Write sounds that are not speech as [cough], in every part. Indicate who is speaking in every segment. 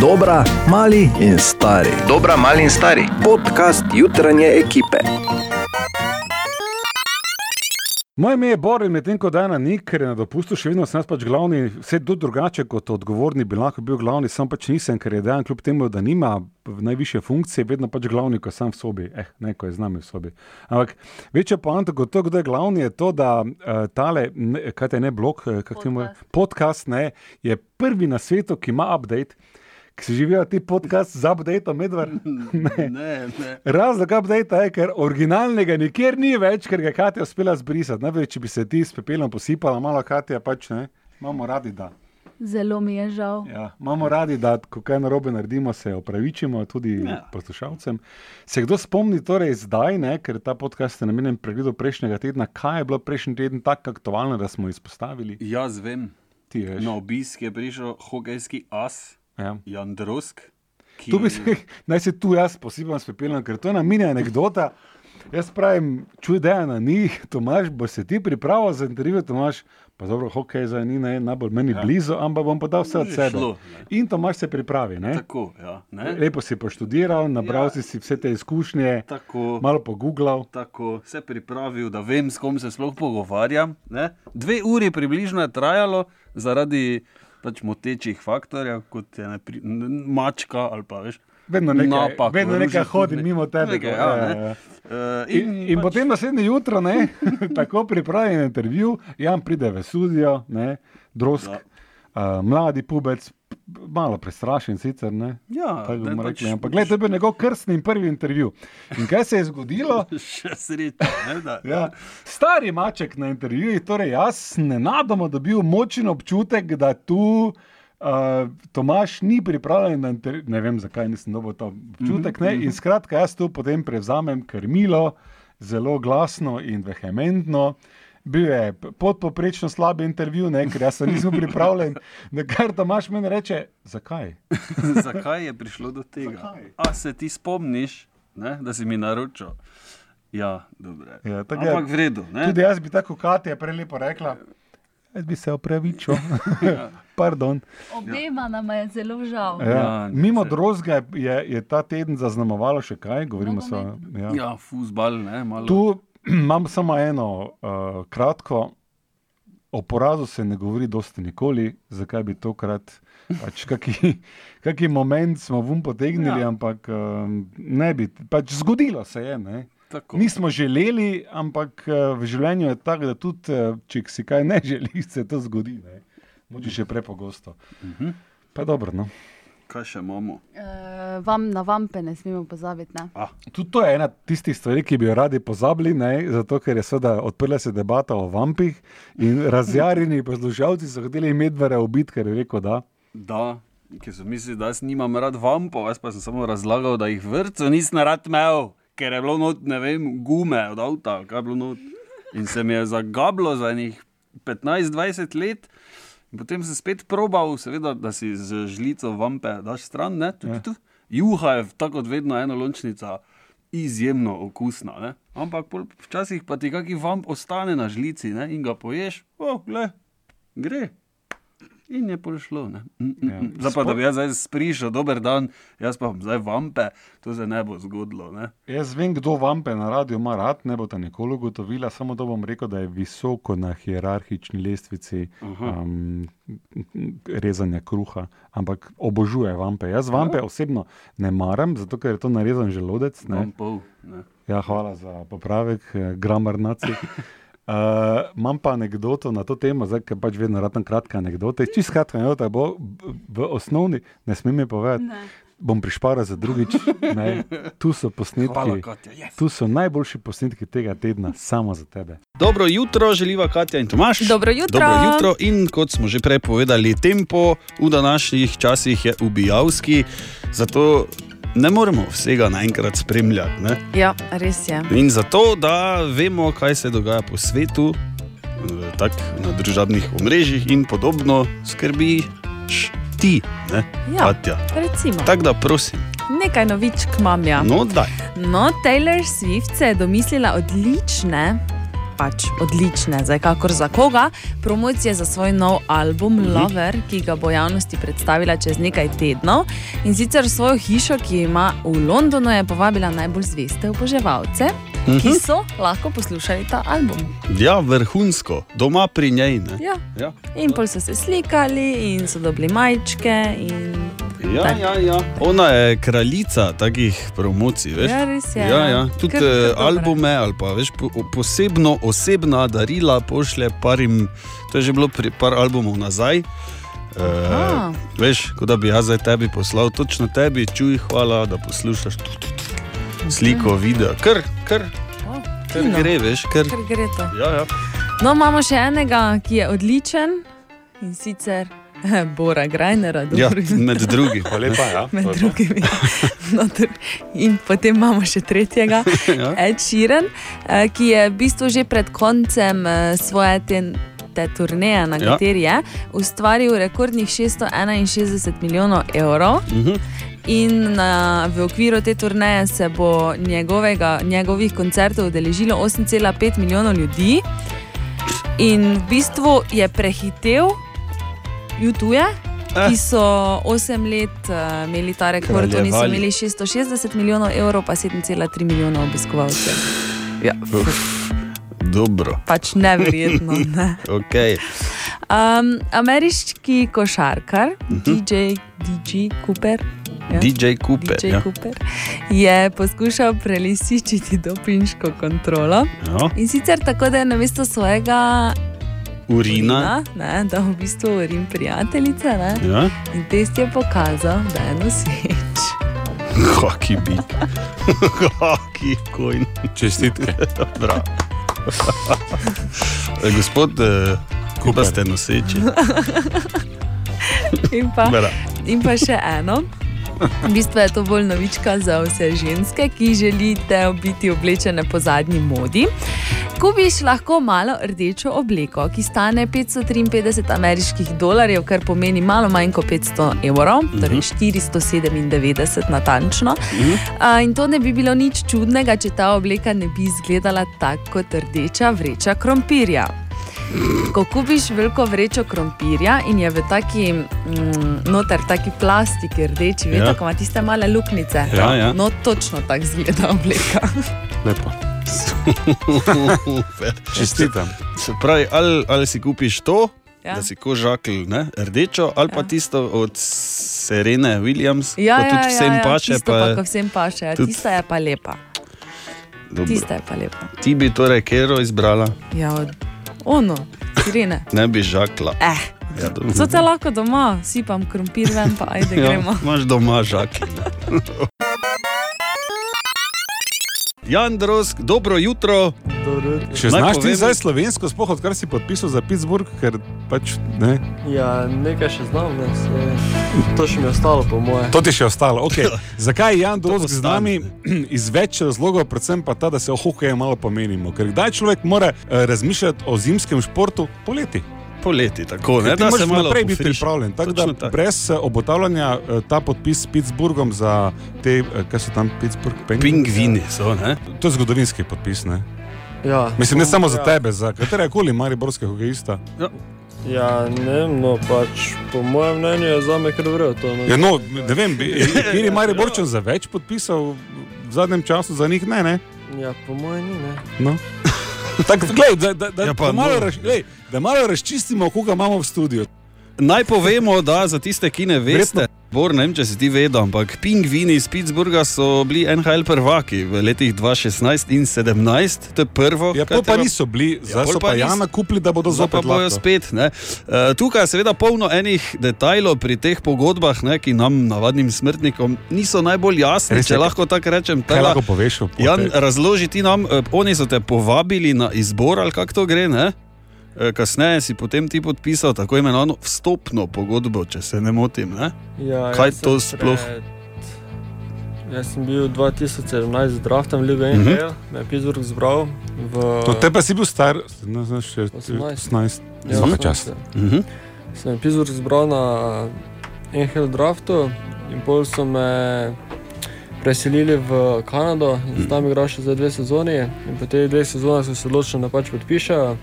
Speaker 1: Dobra, mali in stari.
Speaker 2: Dobra, mali in stari.
Speaker 1: Podcast jutranje ekipe.
Speaker 3: Moje ime je Borin, medtem ko Dana ni, ker je na dopustu še vedno sem jaz pač glavni, vse do drugače kot odgovorni bi lahko bil glavni, sam pač nisem, ker je Dan kljub temu, da nima najviše funkcije, vedno pač glavni, ko je sam v sobi, eh, ne, ko je z nami v sobi. Ampak večja poanta kot to, kdo je glavni, je to, da uh, tale, ne, kaj te ne blog, eh, kak ti moj podcast, ne, je prvi na svetu, ki ima update, ki si živijo ti podcast z updateom, medvard.
Speaker 4: Ne, ne.
Speaker 3: Razlog updata je, ker originalnega nikjer ni več, ker ga je Katja uspela zbrisati. Najprej, če bi se ti s pepelom posipala, malo Katja pač ne. Imamo radi, da.
Speaker 5: Zelo mi je žal.
Speaker 3: Ja, imamo radi, da ko kaj narobe naredimo, se opravičimo tudi ja.
Speaker 4: Ja.
Speaker 3: poslušalcem. Se kdo spomni torej zdaj, ne, ker ta podcast je namenjen pregledu prejšnjega tedna, kaj je bilo prejšnji teden tako aktualno, da smo izpostavili?
Speaker 4: Jaz vem,
Speaker 3: Ti veš.
Speaker 4: na obisk je prišel hokejski as
Speaker 3: Ja.
Speaker 4: Jan Drosk. Ki...
Speaker 3: Tu bi se, [laughs] naj se tu jaz posebej spepeljem, ker to je namenjena anekdota. Jaz pravim, čudeje na njih, Tomaš, boš se ti pripravil za intervju, Tomaš, pa dobro, hokej za ni naj- najbolj meni ja. blizu, ampak bom pa dal vse od
Speaker 4: Že
Speaker 3: sebe.
Speaker 4: šlo,
Speaker 3: In Tomaš se pripravi, ne?
Speaker 4: Tako, ja. Ne?
Speaker 3: Lepo si poštudiral, nabral
Speaker 4: Ja.
Speaker 3: ja. si vse te izkušnje,
Speaker 4: Tako.
Speaker 3: malo pogooglal.
Speaker 4: Tako se pripravil, da vem, s kom se sploh pogovarjam. Ne? Dve uri približno je trajalo zaradi pač motečih faktorjev, kot je napri, n- mačka ali pa več.
Speaker 3: Vedno nekaj-
Speaker 4: napak,
Speaker 3: vedno
Speaker 4: v
Speaker 3: nekaj
Speaker 4: ružnih
Speaker 3: hodi
Speaker 4: urnih.
Speaker 3: mimo tebe,
Speaker 4: Nekaj,
Speaker 3: ko-
Speaker 4: ja,
Speaker 3: ja,
Speaker 4: ne.
Speaker 3: ja. In,
Speaker 4: Eh,
Speaker 3: in, in
Speaker 4: pač-
Speaker 3: potem naslednje jutro,
Speaker 4: [laughs]
Speaker 3: ne, tako pripravljen intervju, Jan pride v studio, ne, drosk,
Speaker 4: Ja.
Speaker 3: uh, mladi pubec, p- malo prestrašen sicer. Ne,
Speaker 4: Ja,
Speaker 3: tako
Speaker 4: ne,
Speaker 3: bomo
Speaker 4: pač-
Speaker 3: rekli, ampak gledaj, to je bil njegov krstni in prvi intervju. In kaj se je
Speaker 4: [laughs]
Speaker 3: zgodilo?
Speaker 4: Še srečo. ne, da-
Speaker 3: Ja. Stari maček na intervjuju, torej jaz nenadoma dobil močen občutek, da tu uh, Tomaš ni pripravljen na intervju. Ne vem, zakaj nisem dobil ta občutek.
Speaker 4: Mhm,
Speaker 3: Ne? In skratka, jaz tu potem prevzamem krmilo, zelo glasno in vehementno. Bil je p- podpoprečno slab intervju, ne, ker jaz se nisem
Speaker 4: [laughs]
Speaker 3: pripravljen. Na kar Tomaš meni reče, zakaj?
Speaker 4: [laughs] Zakaj je prišlo do tega?
Speaker 3: Zakaj?
Speaker 4: A se ti spomniš, ne, da si mi naročil? Ja, dobro.
Speaker 3: Ja, tako je.
Speaker 4: Ampak v redu. ne.
Speaker 3: Tudi jaz bi tako, kot je prelepo rekla, jaz bi se
Speaker 4: [laughs]
Speaker 3: opravičil. [laughs] Pardon.
Speaker 5: Obema nama je zelo žal.
Speaker 3: Ja,
Speaker 4: Ja,
Speaker 3: mimo
Speaker 4: se-
Speaker 3: drugega je, je ta teden zaznamovalo še kaj, govorimo se o. Ja. Ja.
Speaker 4: Ja, fusbal, ne, malo.
Speaker 3: Tu [clears throat] imam samo eno uh, kratko. O porazu se ne govori dosti nikoli, zakaj bi tokrat, pač kaki, [laughs] kaki moment smo vum potegnili, ja.
Speaker 4: Ja.
Speaker 3: ampak um, ne bi, pač zgodilo se je. Ne?
Speaker 4: Tako.
Speaker 3: Nismo želeli, ampak eh, v življenju je tako, da tudi eh, če si kaj ne želiš, se to zgodi. ne. Mogoče še prepogosto.
Speaker 4: Mhm.
Speaker 3: Pa dobro, no.
Speaker 4: Kaj še imamo?
Speaker 5: Eh, vam, na vampe ne smemo pozabiti. Ne?
Speaker 3: Tudi to je ena tistih stvari, ki bi jo radi pozabili, ne? zato ker je seveda odprla se debata o vampih in razjarjeni poslušalci so hoteli medvede ubiti, ker je rekel da.
Speaker 4: Da, ki so mislili, da jaz nimam rad vampov, jaz pa sem samo razlagal, da jih vrtcev nisem rad imel, ker je bilo not, ne vem, gume od avta, ali kaj je bilo not. In se mi je zagablo za njih 15-20 let. In potem sem spet probal, seveda, da si z žlico vampe daš stran. Ne? Tu, tu, tu. Juha je tako kot vedno enolončnica. Izjemno okusna, ne? ampak pol včasih pa ti kaki vamp ostane na žlici ne? in ga poješ, oh, gle, gre. In je prišlo. ne. Mm, mm,
Speaker 3: Ja.
Speaker 4: mm. Zdaj pa, da bi jaz zdaj sprišel, dober dan, jaz pa bom zdaj vampe, to se ne bo zgodilo. Ne?
Speaker 3: Jaz vem, kdo vampe na radiju ima rad, ne bo ta nikoli ugotovila, samo to bom rekel, da je visoko na hierarhični lestvici um, rezanja kruha, ampak obožuje vampe. Jaz vampe osebno ne maram, zato ker je to narezan želodec. Ne?
Speaker 4: Vam pol. Ne?
Speaker 3: Ja, hvala za popravek, eh, gramar [laughs] naci. Uh, imam pa anegdoto na to temo, zdaj ker pač vedno radam kratke anegdote. Čisto kratka anegdota bo b- v osnovni, ne smem je povedati. Ne. Bom prišparal za drugič. Ne. Tu so
Speaker 4: Hvala,
Speaker 3: posnetki,
Speaker 4: Katja. Yes.
Speaker 3: tu so najboljši posnetki tega tedna, samo za tebe.
Speaker 6: Dobro jutro, želiva Katja in Tomaš.
Speaker 7: Dobro jutro.
Speaker 6: Dobro jutro. In Mm, kot smo že prej povedali, tempo v današnjih časih je ubijalski, zato ne moremo vsega naenkrat spremljati. Ne?
Speaker 7: Ja, res je.
Speaker 6: In zato, da vemo, kaj se dogaja po svetu, eh, tako na družabnih omrežjih in podobno, skrbiš ti, ne,
Speaker 7: Ja,
Speaker 6: Katja.
Speaker 7: recimo,
Speaker 6: Tako da prosim,
Speaker 7: nekaj novičk imam. Ja.
Speaker 6: no, daj.
Speaker 7: No, Taylor Swift se je domislila odlične pač odlične, zdaj kakor za koga. Promocije za svoj nov album
Speaker 6: Mhm.
Speaker 7: Lover, ki ga bo javnosti predstavila čez nekaj tednov. In sicer svojo hišo, ki jo ima v Londonu, je povabila najbolj zveste oboževalce,
Speaker 6: Mhm.
Speaker 7: ki so lahko poslušali ta album.
Speaker 4: Ja, vrhunsko, doma pri njej. Ne?
Speaker 7: Ja.
Speaker 4: Ja.
Speaker 7: In pol so se slikali, in so dobili majčke. In...
Speaker 4: Ja,
Speaker 7: Tak.
Speaker 4: ja, ja. Ona je kraljica takih promocij. Veš?
Speaker 7: Ja, res je.
Speaker 4: Ja, ja. Tudi eh,
Speaker 7: Kar- kar dobra.
Speaker 4: albume ali pa veš, po, posebno osebna darila pošlje parim, to je že bilo pri par albumov nazaj.
Speaker 7: Aha.
Speaker 4: Uh, veš, kot da bi jaz zdaj tebi poslal, točno tebi, čuj, hvala, da poslušaš tu, tu, tu. sliko, video. Kar, kar,
Speaker 7: O,
Speaker 4: kar
Speaker 7: fino.
Speaker 4: gre, veš, kar.
Speaker 7: Kar no, gre to.
Speaker 4: Ja, ja.
Speaker 7: No, imamo še enega, ki je odličen in sicer [laughs] Bora Grajnera,
Speaker 4: ja
Speaker 7: dobro,
Speaker 4: med drugim.
Speaker 3: Pa lepa, ja.
Speaker 7: med drugimi. No, ter- in potem imamo še tretjega,
Speaker 4: [laughs] Ja.
Speaker 7: Ed Sheeran, eh, ki je v bistvu že pred koncem eh, svoje ten, te turneje, na
Speaker 4: Ja.
Speaker 7: kateri je, ustvaril rekordnih 661 milijonov evrov.
Speaker 4: Mhm.
Speaker 7: In na, v okviru te turneje se bo njegovega, njegovih koncertov udeležilo 8,5 milijonov ljudi. In v bistvu je prehitel YouTube,
Speaker 4: Eh.
Speaker 7: ki so 8 let uh, imeli ta rekord, oni so
Speaker 4: Kraljevali.
Speaker 7: imeli 660 milijonov evrov, pa 7,3 milijona obiskovalcev. Ja,
Speaker 4: Dobro,
Speaker 7: pač neverjetno.
Speaker 4: [laughs]
Speaker 7: Ne?
Speaker 4: ok.
Speaker 7: Um, ameriški košarkar,
Speaker 4: Mhm.
Speaker 7: DJ, DJ Cooper. Ja.
Speaker 4: DJ Cooper.
Speaker 7: DJ
Speaker 4: Ja.
Speaker 7: Cooper je poskušal prelisičiti dopinško kontrolo
Speaker 4: Ja.
Speaker 7: in sicer tako, da je na mesto svojega
Speaker 4: Urina.
Speaker 7: urina, ne, da v bistvu urin prijateljice ne,
Speaker 4: Ja. [laughs]
Speaker 7: in test je pokazal, da je noseč.
Speaker 4: Kaki bi. [laughs] Kaki kojn.
Speaker 8: Čestitke.
Speaker 4: [laughs] Bravo. E, Gospod, eh, ko pa ste
Speaker 7: [laughs]
Speaker 4: noseči,
Speaker 7: In pa,
Speaker 4: Bera.
Speaker 7: in pa še eno. V bistvu je to bolj novička za vse ženske, ki želite biti oblečene po zadnji modi. Kupiš lahko malo rdečo obleko, ki stane 553 ameriških dolarjev, kar pomeni malo manj kot 500 evrov, torej 497 natančno. A, In to ne bi bilo nič čudnega, če ta obleka ne bi izgledala tako kot rdeča vreča krompirja. Ko kupiš veliko vrečo krompirja in je v taki, mm, noter taki plastiki rdeči,
Speaker 4: Ja.
Speaker 7: ja. tako ima tiste male luknjice.
Speaker 4: Ja, ja.
Speaker 7: No, točno tako izgleda
Speaker 4: [laughs]
Speaker 7: obleka.
Speaker 8: Lepo.
Speaker 4: Super.
Speaker 8: Čestitam.
Speaker 4: Se pravi, ali, ali si kupiš to,
Speaker 7: Ja.
Speaker 4: da si ko žakl ne, rdečo, ali pa
Speaker 7: Ja.
Speaker 4: tisto od Serene Williams,
Speaker 7: Ja,
Speaker 4: ko
Speaker 7: ja,
Speaker 4: tudi vsem
Speaker 7: ja, ja,
Speaker 4: paše.
Speaker 7: tisto
Speaker 4: Pa,
Speaker 7: pa,
Speaker 4: je-
Speaker 7: ko vsem paše. ja,
Speaker 4: tudi-
Speaker 7: Tista je pa lepa.
Speaker 4: Dobro.
Speaker 7: Tista je pa lepa.
Speaker 4: Ti bi torej kero izbrala,
Speaker 7: Ja, od... ono, sirene.
Speaker 4: ne bi žakla.
Speaker 7: Eh,
Speaker 4: Ja, dobro.
Speaker 7: so te lahko doma, sipam krompir ven, pa
Speaker 4: [laughs]
Speaker 7: ajde
Speaker 4: Ja.
Speaker 7: gremo.
Speaker 4: imaš doma žaklje. Jan Drosk, dobro jutro.
Speaker 3: Če
Speaker 4: Naj
Speaker 3: znaš ti
Speaker 4: povem-
Speaker 3: zdaj slovensko, spoh odkar si podpisal za Pittsburgh, ker pač ne.
Speaker 9: Ja, nekaj še znam, ne, se, to še mi je ostalo, po moje.
Speaker 3: To ti še ostalo.
Speaker 4: [laughs]
Speaker 3: Okay. Zakaj je Jan Dolžnik z nami? [clears throat]
Speaker 4: postane,
Speaker 3: Iz več razlogov, predvsem pa ta, da se o hokeju malo pomenimo. Ker kdaj človek mora eh, razmišljati o zimskem športu poleti?
Speaker 4: Poleti, tako ne
Speaker 3: Ker ti
Speaker 4: da se
Speaker 3: moraš
Speaker 4: malo
Speaker 3: naprej biti
Speaker 4: pofriši.
Speaker 3: pripravljen. Tako, da,
Speaker 4: Točno tako.
Speaker 3: brez eh, obotavljanja eh, ta podpis s Pittsburghom za te, eh, kaj so tam Pittsburgh Penguins?
Speaker 4: Pingvini so, ne?
Speaker 3: To je zgodovinski podpis. Ne?
Speaker 9: Ja,
Speaker 3: Mislim, ne
Speaker 9: to-
Speaker 3: samo za
Speaker 9: ja.
Speaker 3: tebe, za katerega koli mariborskega hokejista.
Speaker 9: Ja, ne vem, no pač po mojem mnenju je za me kar vrel to. No.
Speaker 3: Ja, no, ne vem, kjer je Mariborčan za več podpisal v zadnjem času, za njih ne. ne?
Speaker 9: Ja, po mojem ni, ne.
Speaker 3: No. Tak, glej, da, da, da, ja,
Speaker 4: Ja, pa
Speaker 3: da, malo
Speaker 4: moram.
Speaker 3: raš, glej, da malo razčistimo, koga imamo v studiu.
Speaker 4: Naj povemo, da za tiste, ki ne veste,
Speaker 3: Verjetno-
Speaker 4: Bor, ne vem, če si ti vedel, ampak pingvini iz Pittsburgha so bili NHL prvaki v letih 2016 in 2017, to je prvo.
Speaker 3: Ja,
Speaker 4: kar
Speaker 3: pol pa
Speaker 4: treba-
Speaker 3: niso bili,
Speaker 4: Ja,
Speaker 3: zdaj
Speaker 4: pol
Speaker 3: so
Speaker 4: pa
Speaker 3: pa
Speaker 4: nis-
Speaker 3: Jana kupili, da bodo
Speaker 4: Zdaj pa
Speaker 3: zopet
Speaker 4: bojo
Speaker 3: lahko.
Speaker 4: spet. ne. E, Tukaj je seveda polno enih detajlov pri teh pogodbah, ne, ki nam, navadnim smrtnikom, niso najbolj jasni.
Speaker 3: Res je,
Speaker 4: Če lahko tako
Speaker 3: Kaj
Speaker 4: rečem, Tela,
Speaker 3: lahko poveš? o
Speaker 4: Jan,
Speaker 3: pote-
Speaker 4: razloži ti nam, eh, oni so te povabili na izbor ali kako to gre. Ne? Eh, Kasneje si potem ti podpisal tako imenovano vstopno pogodbo, če se ne motim. Ne?
Speaker 9: Ja,
Speaker 4: Kaj
Speaker 9: jaz sem
Speaker 4: to sploh?
Speaker 9: Jaz sem bil 2017 z draftom
Speaker 4: Mhm.
Speaker 9: Liga NL, mm -hmm. me je Pittsburgh zbral v...
Speaker 3: To te pa si bil star, ne znaš, še
Speaker 9: 18.
Speaker 3: 18.
Speaker 9: Ja,
Speaker 3: Svaka
Speaker 9: sem
Speaker 3: čast.
Speaker 9: se-
Speaker 4: Mhm.
Speaker 9: Sem me Pittsburgh eh, zbral na NHL draftu in pol so me preselili v Kanado in tam igral še za dve sezoni. In po tej dveh sezonah so se odločili, da pač podpišajo.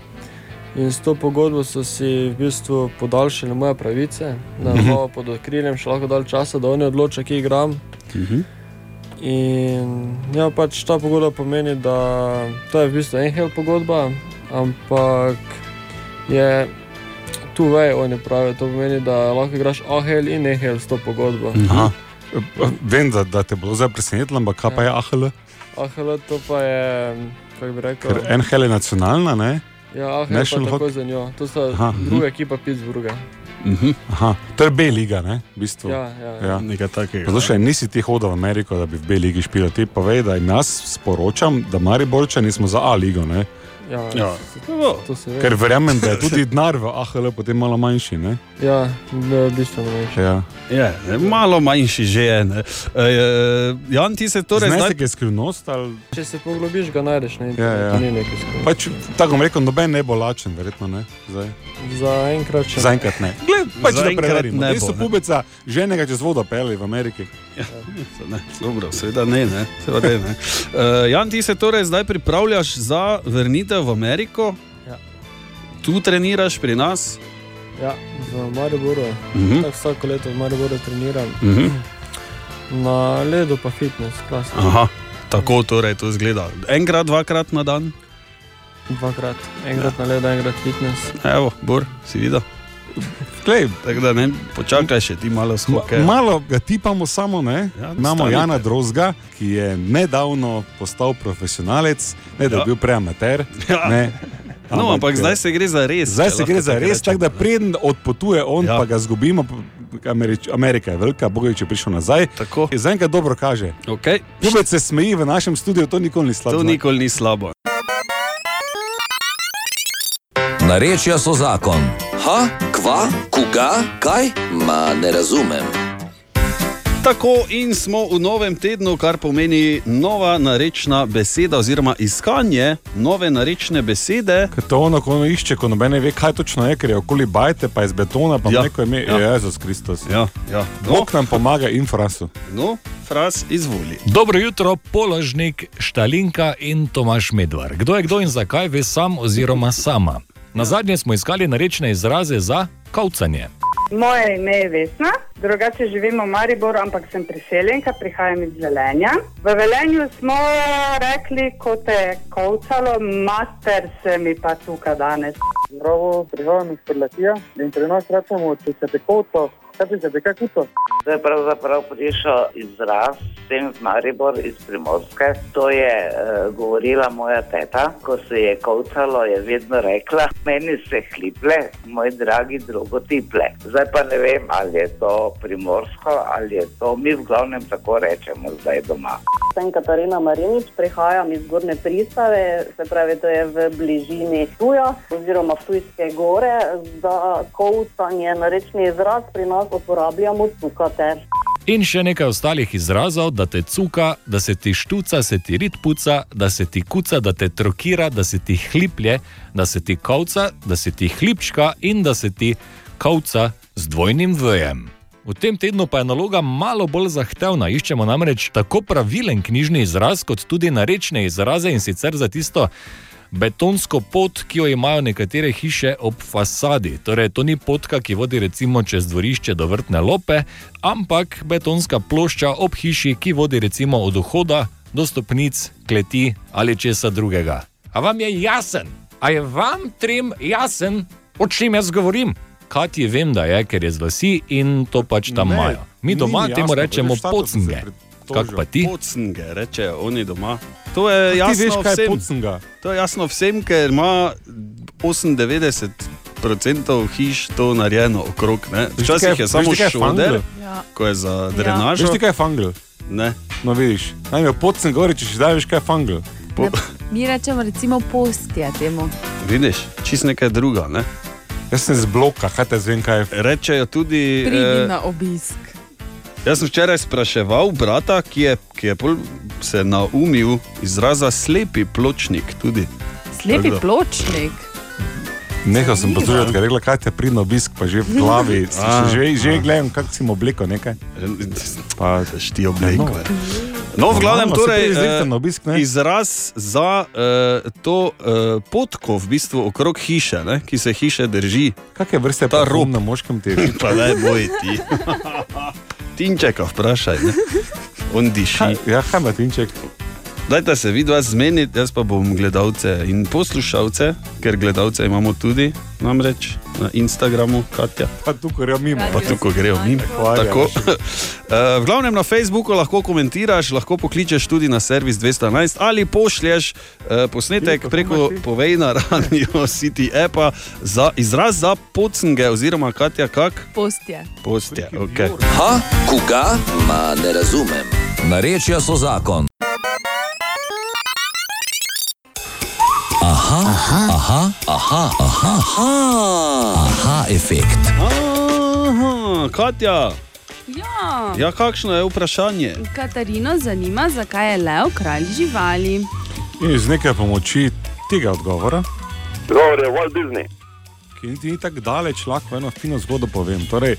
Speaker 9: In s to pogodbo so si v bistvu podaljšali moje pravice, da imamo pod okriljem še lahko dal časa, da oni odločajo, kje igram.
Speaker 3: mhm,
Speaker 9: In ja, pač ta pogodba pomeni, da to je v bistvu en hel pogodba, ampak je tu vej, oni pravijo. To pomeni, da lahko igraš ahel in nehel s to pogodbo.
Speaker 3: Hm. mhm.
Speaker 4: Aha.
Speaker 3: Vem, da, da te je bilo zdaj presenetilo, ampak kaj pa je AHL?
Speaker 9: Ahel to pa je, kako bi rekel,
Speaker 3: Ker NHL je nacionalna, ne?
Speaker 9: ja, ahel je
Speaker 3: National
Speaker 9: tako
Speaker 3: Hockey-
Speaker 9: za njo. To sta
Speaker 3: Aha,
Speaker 9: Aha,
Speaker 3: mhm.
Speaker 9: druga ekipa Pittsburgha.
Speaker 3: Aha, to je B-liga, ne? V bistvu.
Speaker 9: Ja, ja, ja.
Speaker 3: Mhm, Ja.
Speaker 4: Nekaj takega.
Speaker 3: Poslušaj, nisi ti hodil v Ameriko, da bi v B-ligi špil, ti pa veš, da jim jaz sporočam, da Mariborčani smo za A-ligo, ne?
Speaker 9: ja,
Speaker 4: Ja.
Speaker 9: s-
Speaker 4: Ja.
Speaker 9: To se ve.
Speaker 3: Ker verjamem, da je tudi denar v AHL potem malo manjši, ne?
Speaker 9: Ja, ne, bistveno več.
Speaker 3: Ja.
Speaker 4: Je, ne, malo manjši že je. ne. E, e, Jan, ti se
Speaker 3: Torej,
Speaker 4: torej zdaj.
Speaker 3: Znesek je skrivnost ali
Speaker 9: Če se poglobiš, ga najdeš na
Speaker 3: ja.
Speaker 9: internetu, ni nekaj skrbi.
Speaker 3: pač, tako bom rekel, noben ne bo lačen, verjetno ne. Zdaj.
Speaker 9: Za enkrat še. ne.
Speaker 3: Zaenkrat ne. Gled, [laughs] pač da
Speaker 4: Zaenkrat
Speaker 3: preverimo.
Speaker 4: ne
Speaker 3: Ti
Speaker 4: bo,
Speaker 3: so
Speaker 4: ne.
Speaker 3: pubeca ženega čez vodo peli v Ameriki.
Speaker 4: Ne, dobro, seveda ne. ne, seveda ne, [laughs] ne. E, Jan, ti se torej zdaj pripravljaš za vrnitev v Ameriko.
Speaker 9: Ja.
Speaker 4: Tu treniraš pri nas.
Speaker 9: Ja, v Mariboru.
Speaker 4: Mhm.
Speaker 9: Tako vsako leto v Mariboru treniram.
Speaker 4: Mhm.
Speaker 9: Na ledu pa fitness, klasično.
Speaker 4: Aha, tako torej to izgleda. Enkrat, dvakrat na dan.
Speaker 9: Dvakrat. Enkrat na ledu, enkrat fitness.
Speaker 4: Evo, Bor, si videl.
Speaker 3: Glej,
Speaker 4: Tako da ne, počakaj še ti malo skoke.
Speaker 3: Ma, malo ga tipamo, samo ne. Ja,
Speaker 4: Ja,
Speaker 3: Imamo
Speaker 4: stanite.
Speaker 3: Jana Drozga, ki je nedavno postal profesionalec, ne da je
Speaker 4: Ja.
Speaker 3: ja. bil prej amater.
Speaker 4: Ja.
Speaker 3: Ne,
Speaker 4: [laughs]
Speaker 3: eh,
Speaker 4: No, ampak zdaj se gre za res.
Speaker 3: Zdaj
Speaker 4: če
Speaker 3: se
Speaker 4: lahko
Speaker 3: gre za
Speaker 4: tako
Speaker 3: res,
Speaker 4: rečem,
Speaker 3: tako da
Speaker 4: ne.
Speaker 3: preden odpotuje on,
Speaker 4: Ja.
Speaker 3: ja. pa ga zgubimo. Američ, Amerika je velika, bogovi, če je prišel nazaj.
Speaker 4: Tako.
Speaker 3: In Zdaj ga dobro kaže.
Speaker 4: Okay.
Speaker 3: Pubec se smeji v našem studiu, to nikoli ni slabo.
Speaker 4: To nikoli ni slabo.
Speaker 10: Narečja so zakon. Ha, kva, koga, kaj? Ma ne razumem.
Speaker 4: Tako in smo v novem tednu, kar pomeni nova narečna beseda, oziroma iskanje nove narečne besede.
Speaker 3: Ker to ono, ko ono išče, ko noben ne ve, kaj točno je, ker je okoli bajte, pa iz betona, pa
Speaker 4: Ja.
Speaker 3: ja. neko ime,
Speaker 4: Ja.
Speaker 3: ja. Jezus Kristus. Ja.
Speaker 4: Ja, ja. No,
Speaker 3: Bog nam pomaga infrasu.
Speaker 4: no, fraz izvoli.
Speaker 8: Dobro jutro, položnik, Štalinka in Tomaš Medvar. Kdo je kdo in zakaj ve sam oziroma sama? Na zadnje smo iskali narečne izraze za kavcanje.
Speaker 11: Moje ime je Vesna, drugače živim v Mariboru, ampak sem priseljenka, prihajam iz Velenja. V Velenju smo rekli, ko te je kovcalo, master se mi pa tukaj danes.
Speaker 12: Zdravo, prihajam iz Prlatija in pri nas rečemo, če se te koto, kaj ti se te kaj kuto.
Speaker 13: To je pravzaprav prišel izraz sem v Maribor iz Primorske. To je uh, govorila moja teta, ko se je kovcalo, je vedno rekla: Meni se hliple, moj dragi drugo tiple. Zdaj pa ne vem, ali je to primorsko ali je to, mi v glavnem tako rečemo zdaj doma.
Speaker 11: Sem Katarina Marinič, prihajam iz Gorne pristave, se pravi, to je v bližini Tuja oziroma Tujske gore. Za kovcanje narečni izraz pri nas uporabljamo tukate.
Speaker 8: In še nekaj ostalih izrazov, da te cuka, da se ti štuca, se ti rit puca, da se ti kuca, da te trokira, da se ti hliplje, da se ti kavca, da se ti hlipčka in da se ti kavca z dvojnim vjem. V tem tednu pa je naloga malo bolj zahtevna. Iščemo namreč tako pravilen knjižni izraz, kot tudi narečne izraze in sicer za tisto betonsko pot, ki jo imajo nekatere hiše ob fasadi. Torej, to ni potka, ki vodi recimo čez dvorišče do vrtne lope, ampak betonska plošča ob hiši, ki vodi recimo od vhoda do stopnic, kleti ali česa drugega. A vam je jasen? A je vam trem jasen, o čem jaz govorim? Kati vem, da je, ker je z vasi in to pač tam
Speaker 3: Ne,
Speaker 8: imajo. Mi
Speaker 3: ni
Speaker 8: doma
Speaker 3: mi
Speaker 8: temu
Speaker 3: jasno,
Speaker 8: rečemo
Speaker 3: veš, šta, ko sem se
Speaker 8: pocinge.
Speaker 3: pritožil.
Speaker 8: Kak pa ti?
Speaker 4: Pocnge, rečejo oni doma. To je
Speaker 3: Ti veš,
Speaker 4: jasno
Speaker 3: kaj je
Speaker 4: vsem.
Speaker 3: pocinga.
Speaker 4: To je jasno vsem, ker ima 98% hiš to narejeno okrog. Ne?
Speaker 3: ti,
Speaker 4: Včasih
Speaker 3: kaj-
Speaker 4: je
Speaker 3: veš
Speaker 4: samo
Speaker 3: ti, kaj je
Speaker 4: šoder,
Speaker 3: fangl?
Speaker 7: Ja.
Speaker 4: ko je za drenažo.
Speaker 3: Veš ti, kaj je fangl?
Speaker 4: Ne.
Speaker 3: No vidiš, naj mi pocen govori, če še zdaj veš, kaj je fangl.
Speaker 4: Po,
Speaker 7: Ne. Mi rečemo, recimo, postje temu.
Speaker 4: vidiš, čist nekaj druga. Ne?
Speaker 3: Jaz sem z bloka, kaj te zvem, kaj je.
Speaker 4: Rečejo tudi.
Speaker 7: Pridi
Speaker 4: eh,
Speaker 7: na obisk.
Speaker 4: Jaz sem včeraj spraševal brata, ki je, ki je pol se naumil izraza slepi pločnik. Tudi.
Speaker 7: Slepi
Speaker 4: Tako da.
Speaker 7: pločnik.
Speaker 3: Nehal sem poslušati, ker je rekla, kaj te pride na obisk, pa že v glavi.
Speaker 4: A,
Speaker 3: že že gledam, kak si mu obleko nekaj.
Speaker 4: Pa, ti obleko.
Speaker 3: No.
Speaker 4: je. No, v glavnem,
Speaker 3: Normalno, saj
Speaker 4: torej,
Speaker 3: pride zrihtan
Speaker 4: eh,
Speaker 3: obisk, ne?
Speaker 4: izraz za eh, to eh, potko, v bistvu okrog hiše, ne, ki se hiše drži.
Speaker 3: Kakšne vrste
Speaker 4: ta rob?
Speaker 3: na moškem tednu?
Speaker 4: Pa ne boj ti. [laughs] Tinčeka vprašaj, ne? on diši.
Speaker 3: Ja, kaj ima Tinček?
Speaker 4: Dajte se vidva zmeniti, jaz pa bom gledalce in poslušalce, ker gledalce imamo tudi, namreč na Instagramu, Katja.
Speaker 3: Pa tukaj gremo mimo.
Speaker 4: Pa tukaj gremo mimo.
Speaker 3: Hvala.
Speaker 4: Tako. [laughs] Eh, V glavnem na Facebooku lahko komentiraš, lahko pokličeš tudi na servis 211 ali pošlješ eh, posnetek preko Povej na Radio City appa za izraz za pocnge oziroma Katja Kak.
Speaker 7: Postje.
Speaker 4: Postje, ok.
Speaker 10: Ha, koga? Ma ne razumem. Narečja so zakon. Aha, aha, aha, aha, aha, aha, aha efekt.
Speaker 4: Aha, Katja,
Speaker 14: Ja.
Speaker 4: ja, kakšno je vprašanje?
Speaker 14: Katarino zanima, zakaj je lev kralj živali.
Speaker 3: In z nekaj pomoči tega odgovora,
Speaker 15: Odgovor je Walt Disney.
Speaker 3: ki niti ni tako daleč, lahko eno fino zgodbo povem. Torej,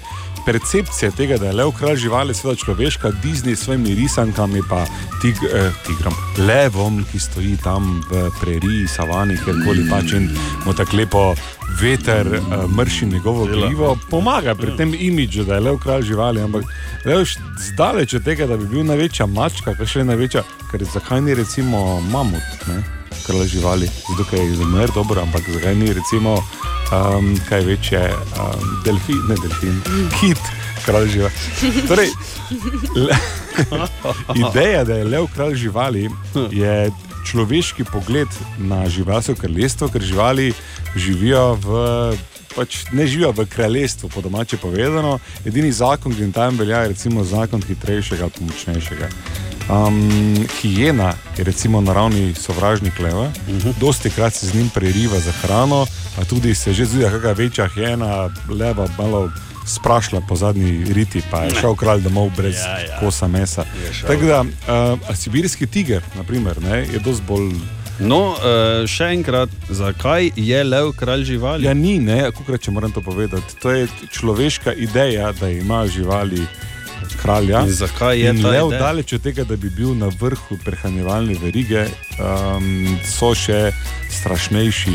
Speaker 3: percepcija tega, da je lev kralj živali, je seveda človeška, Disney s svojimi risankami, pa tig, eh, tigrom, levom, ki stoji tam v preriji, savani, kjerkoli pač in mu tako lepo veter eh, mrši njegovo glivo, pomaga pri tem imidžu, da je lev kralj živali, ampak lev š- zdaleč od tega, da bi bil največja mačka, kar še je največja, ker zakaj ni recimo mamut, ne? kralj živali, zato ker je izumrl dobro, ampak zakaj ni recimo um, kaj večje, um, delfin, ne delfin, kit, kralj živali. Torej, le, [laughs] ideja, da je lev kralj živali, je človeški pogled na živalsko kraljestvo, ker živali živijo v. Pač ne živijo v kraljestvu, po domače povedano. Edini zakon, ki jim tam velja, je recimo zakon hitrejšega ali močnejšega. Um, hijena je recimo naravni sovražnik leva, uh -huh. dosti krat se z njim preriva za hrano, pa tudi se že zdi, kakšna večja hijena, leva malo sprašla po zadnji riti, pa je šel kralj domov brez ja, ja. kosa mesa.
Speaker 4: šel.
Speaker 3: Tako da, uh, sibirski tiger, naprimer, ne, je dosti bolj.
Speaker 4: No, eh, še enkrat, zakaj je lev kralj živali?
Speaker 3: Ja, ni, ne, kako če moram to povedati. To je človeška ideja, da imajo živali kralja.
Speaker 4: In zakaj je
Speaker 3: In
Speaker 4: ta
Speaker 3: lev
Speaker 4: ideja?
Speaker 3: daleč od tega, da bi bil na vrhu prehranjevalne verige, um, so še strašnejši.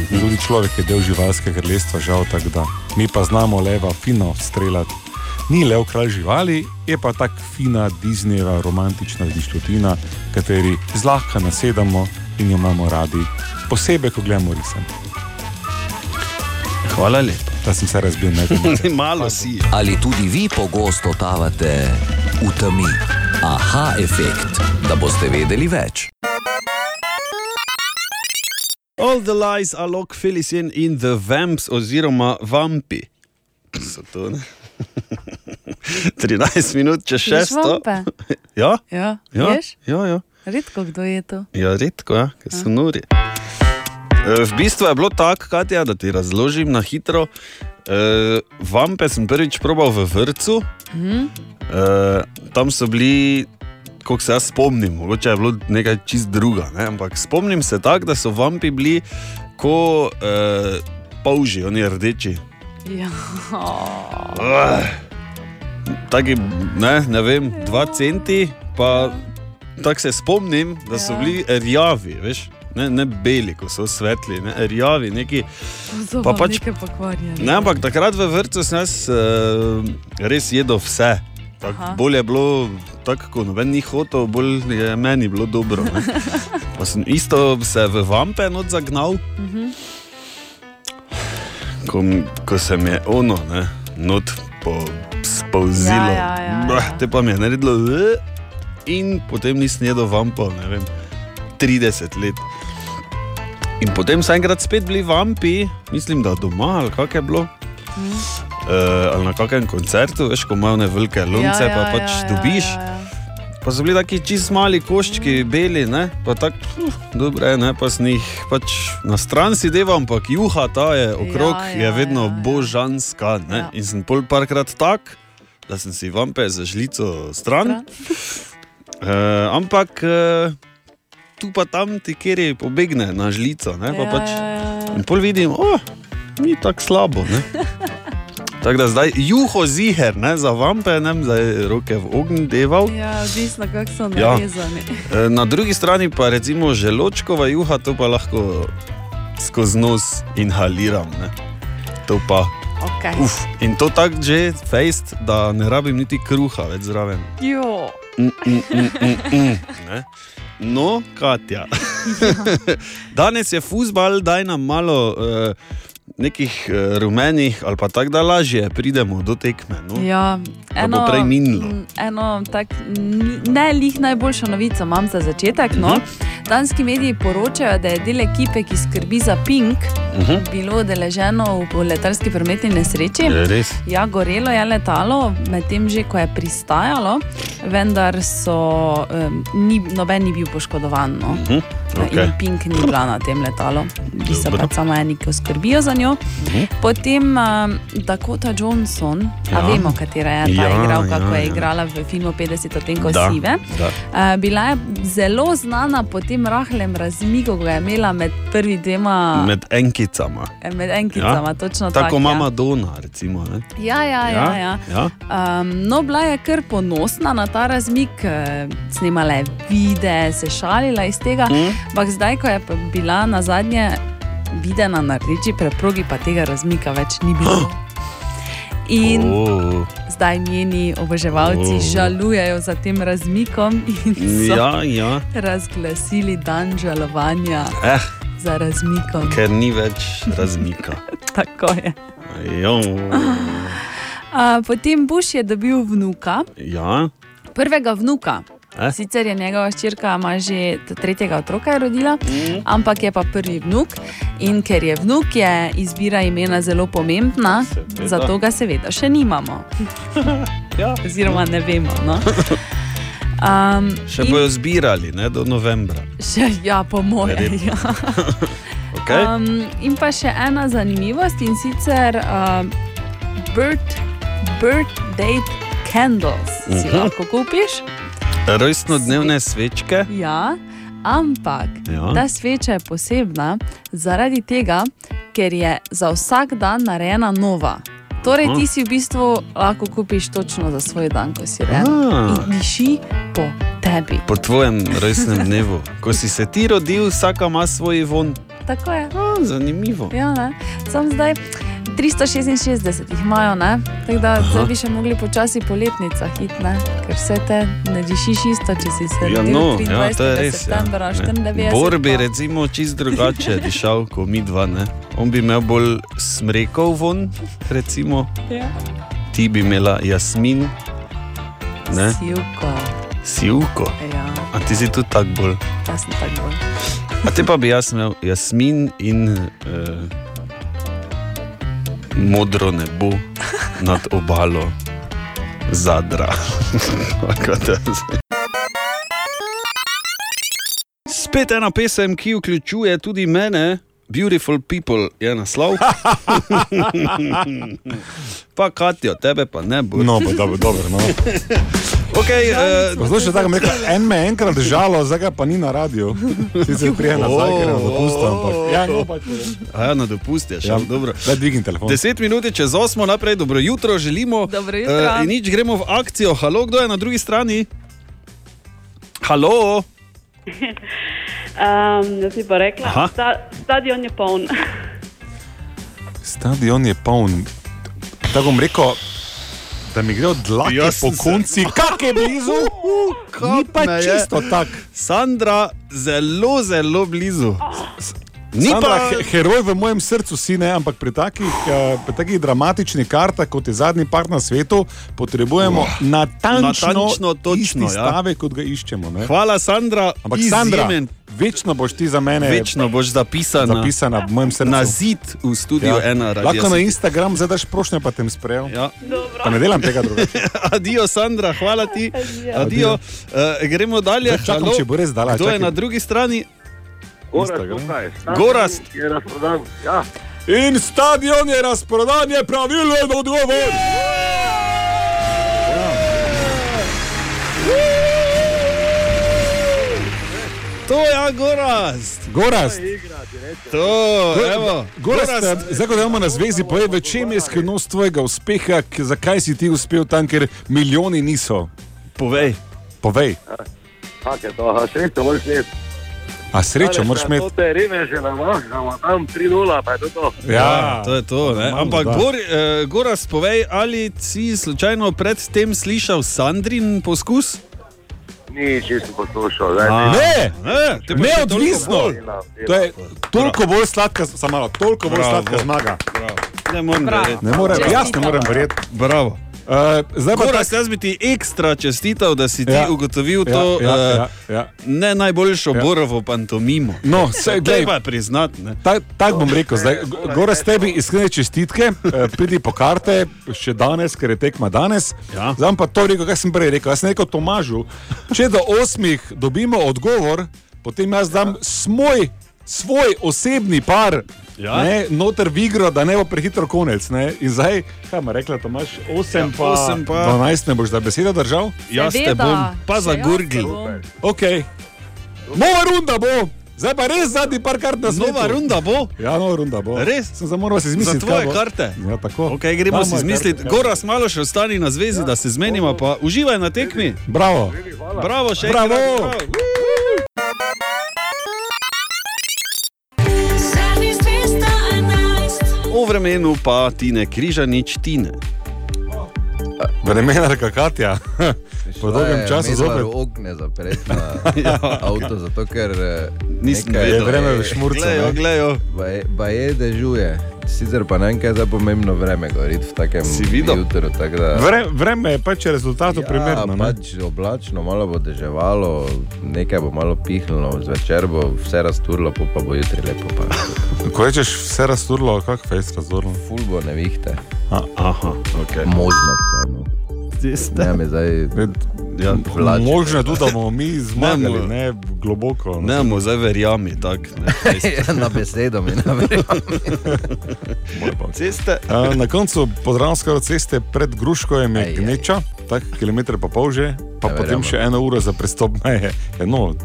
Speaker 4: Mhm.
Speaker 3: Tudi človek je del živalskega kraljestva, žal tako da. Mi pa znamo leva fino streljati. Ni lev kralj živali, je pa tako fina Disneyjeva romantična dišlotina, kateri zlahka nasedamo in jo imamo radi. Posebej, ko gledamo risem.
Speaker 4: Hvala
Speaker 3: [laughs]
Speaker 4: lepa.
Speaker 3: Da sem se razbil, ne
Speaker 4: [laughs]
Speaker 3: vem.
Speaker 4: Malo si.
Speaker 10: Ali tudi vi pogosto totavate v temi? Aha, efekt, da boste vedeli več.
Speaker 4: All the lies are lock fillis in in the vamps oziroma vampi. So to, ne? [laughs] 13 minut čez
Speaker 7: Ješ
Speaker 4: šesto. [laughs]
Speaker 7: vampe?
Speaker 4: Ja,
Speaker 7: Ja,
Speaker 4: ja,
Speaker 7: ješ?
Speaker 4: ja, ja.
Speaker 7: Redko kdo je to.
Speaker 4: Ja, redko, ja, ker so nori. E, V bistvu je bilo tako, Katja, da ti razložim na hitro. E, vampe sem prvič probal v vrtu,
Speaker 7: Mhm.
Speaker 4: e, tam so bili, koliko se jaz spomnim, mogoče je bilo nekaj čist druga, ne? ampak spomnim se tako, da so vampi bili kot e, polži, oni rdeči.
Speaker 14: Ja.
Speaker 4: Ah, Taki, ne, ne vem, dva centi, pa tako se spomnim, da
Speaker 14: Ja.
Speaker 4: so bili rjavi, veš, ne, ne beli, ko so svetli, ne, rjavi, neki.
Speaker 7: To
Speaker 4: Pa
Speaker 7: pa
Speaker 4: pač-
Speaker 7: pač nekaj pokvarjeno.
Speaker 4: Ne, ampak takrat v vrtu sem jaz uh, res jedel vse.
Speaker 7: Aha.
Speaker 4: Tak, bolje je bilo tako, kot noben ni hotel, bolj je meni bilo dobro.
Speaker 14: [laughs]
Speaker 4: ne. Pa sem isto se v vampe not zagnal,
Speaker 14: Mhm.
Speaker 4: ko, ko se mi je ono, ne, not po, spolzilo.
Speaker 14: Ja, ja, ja, ja.
Speaker 4: Bah, Te pa mi je naredilo, "Ugh", in potem nisem jedel vampa, ne vem, 30 let. In potem so enkrat spet bili vampi, mislim, da doma ali kak je bilo. Mhm. Uh, ali na kakem koncertu, veš, ko imaš ne velike lunce,
Speaker 14: ja,
Speaker 4: ja, ja, pa pač
Speaker 14: ja, ja,
Speaker 4: ja, dobiš. Ja, ja. Pa so bili taki čist mali koščki, beli, ne? pa tako, uh, dobro, je, ne, pa sem jih pač na stran si devam, ampak juha ta je okrog, ja, ja, je vedno ja, ja. božanska. Ne? Ja. In sem pol parkrat tak, da sem si vampe za žlico [laughs] stran. Uh, ampak uh, tu pa tam ti, kjer je pobegne na žlico, ne, pa
Speaker 14: Ja,
Speaker 4: pač.
Speaker 14: ja, ja.
Speaker 4: [laughs] In pol vidim, oh, ni tako slabo. Ne? Tako da zdaj juho ziher, ne, za vampenem, zdaj roke v ognju deval.
Speaker 7: Ja, odvisno, kako so
Speaker 4: Ja.
Speaker 7: navezani.
Speaker 4: E, Na drugi strani pa recimo želočkova juha, to pa lahko skozi nos inhaliram. Ne. To pa.
Speaker 7: Okay.
Speaker 4: Uf, in to tako že fejst, da ne rabim niti kruha več zraven.
Speaker 7: Jo.
Speaker 4: Mm, mm, mm, mm, mm, ne. no, Katja. [laughs] Danes je fusbal, daj nam malo eh, nekih eh, rumenih, ali pa tako da lažje pridemo do tekme. No?
Speaker 7: Ja,
Speaker 4: Da bo prej minilo.
Speaker 7: m, eno tak, n- ne lih najboljšo novico imam za začetek.
Speaker 4: Mhm.
Speaker 7: No. Danski mediji poročajo, da je del ekipe, ki skrbi za Pink,
Speaker 4: Mhm.
Speaker 7: bilo udeleženo v letalski prometni nesreči.
Speaker 4: Je res?
Speaker 7: Ja, gorelo je letalo, medtem že ko je pristajalo, vendar so, um, ni, noben ni bil poškodovan. No.
Speaker 4: Mhm,
Speaker 7: In
Speaker 4: okej.
Speaker 7: Pink ni bila na tem letalu, ki so
Speaker 4: Dobro.
Speaker 7: pač samo eni, ki skrbijo za njo.
Speaker 4: Mhm.
Speaker 7: Potem um, Dakota Johnson, ja.
Speaker 4: Ja.
Speaker 7: vemo, katera je ta
Speaker 4: Ja,
Speaker 7: ja, igralka,
Speaker 4: ja,
Speaker 7: ja, ko je
Speaker 4: ja.
Speaker 7: ja. igrala v filmu 50 odtenkov
Speaker 4: Da,
Speaker 7: sive.
Speaker 4: da.
Speaker 7: Uh, bila je zelo znana po tem rahlem razmiku, ki ga je imela med prvima dvema med,
Speaker 4: Med enkicama.
Speaker 7: med enkicama. Ja. Točno
Speaker 4: Tako
Speaker 7: tako.
Speaker 4: kot mama Dona, recimo. Ne?
Speaker 7: Ja, ja, ja. ja. ja.
Speaker 4: ja.
Speaker 7: Um, no, bila je kar ponosna na ta razmik, eh, snemala je videe, se šalila iz tega.
Speaker 4: Mm.
Speaker 7: Ampak zdaj, ko je pa bila na zadnje videna na rdeči preprogi, pa tega razmika več ni bilo. In
Speaker 4: Oh.
Speaker 7: zdaj njeni oboževalci
Speaker 4: Oh.
Speaker 7: oh. žalujejo za tem razmikom in so
Speaker 4: Ja, ja.
Speaker 7: razglasili dan žalovanja
Speaker 4: Eh,
Speaker 7: za razmikom.
Speaker 4: ker ni več razmika.
Speaker 7: Tako je.
Speaker 4: Jo,
Speaker 7: A, potem Bush je dobil vnuka,
Speaker 4: ja.
Speaker 7: prvega vnuka.
Speaker 4: Eh?
Speaker 7: Sicer je njegova ščirka, ima že t- tretjega otroka je rodila,
Speaker 4: Mhm.
Speaker 7: ampak je pa prvi vnuk. In ker je vnuk, je izbira imena zelo pomembna,
Speaker 14: Seveda.
Speaker 7: seveda. zato ga seveda še nimamo.
Speaker 4: [laughs] ja.
Speaker 7: Oziroma ne vemo. No? Um,
Speaker 4: Še bojo zbirali ne, do novembra.
Speaker 7: Še, ja, po mojem.
Speaker 4: Verjetno.
Speaker 7: Ja.
Speaker 4: Okay? Um,
Speaker 7: Um, in pa še ena zanimivost in sicer um, bird, birthday candles si
Speaker 4: Mhm.
Speaker 7: lahko kupiš.
Speaker 4: Rojstnodnevne svečke.
Speaker 7: Ja, ampak
Speaker 4: Ja.
Speaker 7: ja. ta sveča je posebna zaradi tega, ker je za vsak dan narejena nova. Torej,
Speaker 4: Aha.
Speaker 7: ti si v bistvu lahko kupiš točno za svoj dan, ko si rejen.
Speaker 4: Ah.
Speaker 7: In diši po tebi.
Speaker 4: Po tvojem rojstnem dnevu, ko si se ti rodil, vsaka ima svoj von.
Speaker 7: Tako je.
Speaker 4: Ah, zanimivo.
Speaker 7: Ja, ne. Sam zdaj 366 jih imajo, ne? tako da
Speaker 4: Aha.
Speaker 7: zdaj bi še mogli počasi po letnicah iti, ne? ker vse te ne dišiš isto, če si se
Speaker 4: Ja,
Speaker 7: rodil
Speaker 4: no,
Speaker 7: 23.
Speaker 4: ja, to je res. Ja.
Speaker 7: septembra,
Speaker 4: Ne.
Speaker 7: 94.
Speaker 4: Bor bi recimo čist drugače dišal, kot mi dva. Ne? On bi imel bolj smrekov von, recimo.
Speaker 7: Ja.
Speaker 4: ti bi imela jasmin, ne?
Speaker 7: Sivko,
Speaker 4: sivko.
Speaker 7: ja,
Speaker 4: A ti si tudi tak bolj.
Speaker 7: jaz sem tako bolj.
Speaker 4: A te pa bi jaz imel jasmin in eh, modro nebo nad obalo zadra. [laughs] Kaj te zdaj? Spet ena pesem, ki vključuje tudi mene, Beautiful People
Speaker 16: [laughs]
Speaker 4: je naslov. pa Katijo, tebe pa ne bo.
Speaker 16: No, Ja, pa dobro, dobro, no.
Speaker 4: Okay, uh,
Speaker 16: Poslušaj, tako mi je rekel, en me je enkrat žalo, zdaj ga pa ni na radiju. Sicer prije nazaj, ker je na dopustu, ampak. Ja, no, pač.
Speaker 4: A ja, na dopust je še.
Speaker 16: Ja,
Speaker 4: dobro.
Speaker 16: Daj dvigni telefon.
Speaker 4: 10 minut je čez 8, naprej dobro jutro, želimo.
Speaker 7: Dobro jutro.
Speaker 4: Eh, in nič gremo v akcijo. Halo, kdo je na drugi strani? Halo,
Speaker 17: Um, jaz bi pa rekla,
Speaker 16: Aha.
Speaker 17: sta, stadion je poln. [laughs]
Speaker 16: Stadion je poln. Tako bom rekel, da mi gre od dlake
Speaker 4: Ja,
Speaker 16: po konci, kak je blizu. Ni pa
Speaker 4: me je.
Speaker 16: čisto tako.
Speaker 4: Sandra, zelo, zelo blizu.
Speaker 16: Ni Sandra,
Speaker 4: pa-
Speaker 16: pa heroj v mojem srcu, si ne, ampak pri takih, eh, pri takih dramatičnih kartah, kot je zadnji par na svetu, potrebujemo oh, natančno,
Speaker 4: natančno, točno,
Speaker 16: isti
Speaker 4: ja.
Speaker 16: stavek, kot ga iščemo. Ne?
Speaker 4: Hvala, Sandra.
Speaker 16: Ampak
Speaker 4: Izjemen.
Speaker 16: Sandra, večno boš ti za mene.
Speaker 4: Večno boš zapisana,
Speaker 16: zapisana v mojem srcu.
Speaker 3: Ja.
Speaker 4: na zid v studiu ja. ena radio.
Speaker 16: Lahko na
Speaker 4: City.
Speaker 16: Instagram zadaš prošnje, pa tem sprejel.
Speaker 4: Ja. [laughs]
Speaker 16: Pa ne delam tega
Speaker 3: [laughs]
Speaker 16: drugega.
Speaker 4: Adijo, Sandra, hvala ti. Adijo. Adijo.
Speaker 16: Adijo.
Speaker 4: Uh, gremo dalje.
Speaker 16: Zdaj čakam,
Speaker 4: Halo.
Speaker 16: če bo res dala,
Speaker 4: Kdo
Speaker 16: čakaj.
Speaker 4: je na drugi strani?
Speaker 16: Gorast,
Speaker 15: tukaj.
Speaker 4: Gorast.
Speaker 15: Je razprodan. Ja.
Speaker 16: In stadion je razprodan, je pravilen odgovor.
Speaker 4: To je ja, gorast.
Speaker 3: Gorast.
Speaker 4: To,
Speaker 3: Go-
Speaker 4: evo.
Speaker 3: Gorast, eh, zdaj, ko imamo na zvezi, povej, v čem je skrivnost tvojega uspeha, k- zakaj si ti uspel tam, ker milijoni niso?
Speaker 4: Povej.
Speaker 3: Povej.
Speaker 9: Tako je to, aha, srečo moraš imeti.
Speaker 3: A srečo moraš imeti.
Speaker 9: Te ribe že namahnemo, tam 3-0, pa je to to.
Speaker 4: Ja, to je to. ne.
Speaker 3: Normalno,
Speaker 4: Ampak,
Speaker 3: da.
Speaker 4: Gor, eh, Goras, povej, ali si slučajno predtem slišal Sandrin poskus?
Speaker 9: Ni čisto poslušal,
Speaker 4: A,
Speaker 9: zdaj
Speaker 3: Ne,
Speaker 4: ne, te pa še toliko
Speaker 3: neodvisno.
Speaker 4: bolj.
Speaker 3: To je toliko bolj sladka, samo malo, toliko bolj
Speaker 4: Bravo.
Speaker 3: sladka zmaga.
Speaker 4: Ne morem
Speaker 3: Bravo.
Speaker 4: verjeti. Ja,
Speaker 3: Ne morem, jaz ne morem verjeti.
Speaker 4: Bravo.
Speaker 3: Uh, zdaj pa
Speaker 4: Goras, jaz bi ti ekstra čestital, da si ti
Speaker 3: Ja.
Speaker 4: ugotovil
Speaker 3: Ja,
Speaker 4: to
Speaker 3: ja,
Speaker 4: eh,
Speaker 3: ja, ja.
Speaker 4: ne najboljšo borovo pantomimo.
Speaker 3: No, saj, glej.
Speaker 4: Treba je priznati. ne.
Speaker 3: Ta- Tako bom rekel, zdaj, gore s tebi iskrene čestitke, eh, pridi po karte, še danes, ker je tekma danes. Ja. Zdaj bom pa to rekel, kar sem prej rekel. Jaz sem rekel Tomažu, če do osmih dobimo odgovor, potem jaz dam svoj, svoj osebni par.
Speaker 4: Ja.
Speaker 3: Ja. Ne, noter v igro, da ne bo prehitro konec. Ne. In zdaj, kaj ima rekla Tomaš, 8 ja, pa,
Speaker 4: osem pa-
Speaker 3: 12 ne boš za besedo držal?
Speaker 4: Jaz te Seveda, bom, pa še za jaz te gurgl. bom.
Speaker 3: Ok. Nova runda bo, zdaj pa res zadnji par kart na svetu.
Speaker 4: Nova runda bo.
Speaker 3: Ja, nova runda bo.
Speaker 4: Res?
Speaker 3: Sem se moral si izmisliti.
Speaker 4: Za tvoje
Speaker 3: kaj bo.
Speaker 4: karte?
Speaker 3: Ja, tako.
Speaker 4: Okay,
Speaker 3: Da,
Speaker 4: gremo si
Speaker 3: moje
Speaker 4: izmisliti,
Speaker 3: karte, ja.
Speaker 4: Goras, malo še ostani na zvezi, da se zmenimo, pa uživaj na tekmi.
Speaker 3: Bravo.
Speaker 4: Bravo, še
Speaker 3: Bravo.
Speaker 4: enkrat. bravo. O vremenu pa ti ne križa nič tine. [laughs]
Speaker 3: Vremena kakatja. [laughs] Po dolgem času
Speaker 1: zopet.
Speaker 3: zopet.
Speaker 1: Okne zapreti na [laughs]
Speaker 3: Ja.
Speaker 1: avto, zato ker eh,
Speaker 3: Nisem
Speaker 1: nekaj-
Speaker 3: vedel. Je vreme v šmurcu, Glejo, ne.
Speaker 4: glejo.
Speaker 1: Pa je dežuje. Sicer pa ne vem, kaj je za pomembno vreme govoriti v takem jutru. tako da-
Speaker 3: Vre, vreme je pač rezultatu ja, primerno.
Speaker 1: Ja,
Speaker 3: ne.
Speaker 1: pač oblačno, malo bo deževalo, nekaj bo malo pihnilo, zvečer bo vse razturlo, pol pa bo jutri lepo. Pa.
Speaker 3: Ko rečeš vse razturlo, kako fejs razturlo?
Speaker 1: Ful bo nevihte.
Speaker 3: A,
Speaker 4: aha, ok.
Speaker 1: Možno vseeno. Ne, me zdaj. [laughs]
Speaker 4: Ja,
Speaker 1: vlači.
Speaker 3: Možno je tudi, da bomo mi
Speaker 4: Ne
Speaker 3: zmagali,
Speaker 4: bo-
Speaker 3: ne globoko.
Speaker 4: Ne, mu zdaj verjami, tako.
Speaker 3: [laughs]
Speaker 1: na besedo mi ne verjamem.
Speaker 4: Ceste.
Speaker 3: A, Na koncu podravske ceste pred Gruškojem je gneča, tako kilometr pa pol že, pa
Speaker 1: Ja,
Speaker 3: potem
Speaker 1: verjamem.
Speaker 3: še eno uro za prestop meje. Ja, no,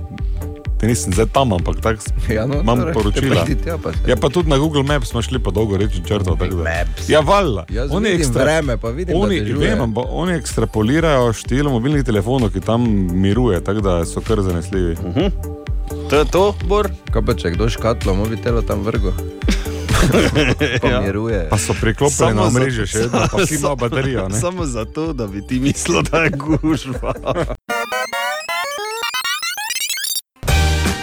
Speaker 3: te nisem zdaj tam, ampak tako
Speaker 1: Ja, no,
Speaker 3: imam
Speaker 1: torej,
Speaker 3: poročila.
Speaker 1: pridite, ja, pa se-
Speaker 3: Ja, pa tudi na Google Maps smo šli pa dolgo reči črto. tako da- Ja, valjda.
Speaker 1: Jaz
Speaker 3: Oni
Speaker 1: vidim
Speaker 3: ekstra-
Speaker 1: vreme, pa vidim, da
Speaker 3: Oni,
Speaker 1: dežuje.
Speaker 3: vem, ampak oni ekstrapolirajo število mobilnih telefonov, ki tam miruje, tako da so kar zanesljivi. Uh -huh.
Speaker 4: To je to, Bor?
Speaker 1: Kaj pa če kdo škatlo, mobitelo tam
Speaker 3: [laughs]
Speaker 1: vrgo.
Speaker 3: Ja.
Speaker 1: Pomiruje.
Speaker 3: Pa so priklopljeni na mreže, še
Speaker 1: [laughs]
Speaker 3: vedno, pa vsi imajo baterijo. ne.
Speaker 4: Samo zato, da bi ti mislil, da je gužva.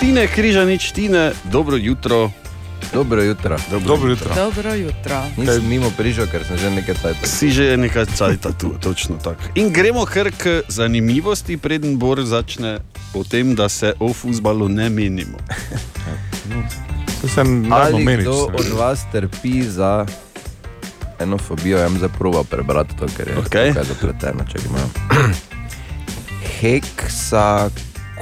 Speaker 4: Tine, križa nič, tine, dobro jutro.
Speaker 1: Dobro jutro.
Speaker 3: Dobro jutro.
Speaker 7: Dobro jutro.
Speaker 1: Nisem mimo prišel, ker sem že nekaj časa.
Speaker 4: Si že nekaj časa tu, točno tako. In gremo kar k zanimivosti, preden Bor začne o tem, da se o futbalu ne menimo.
Speaker 3: To sem
Speaker 1: Ali kdo od vas trpi za eno fobijo, jaz za proba prebrati to, ker je okay. nekaj zapleteno, če imam. Heksa,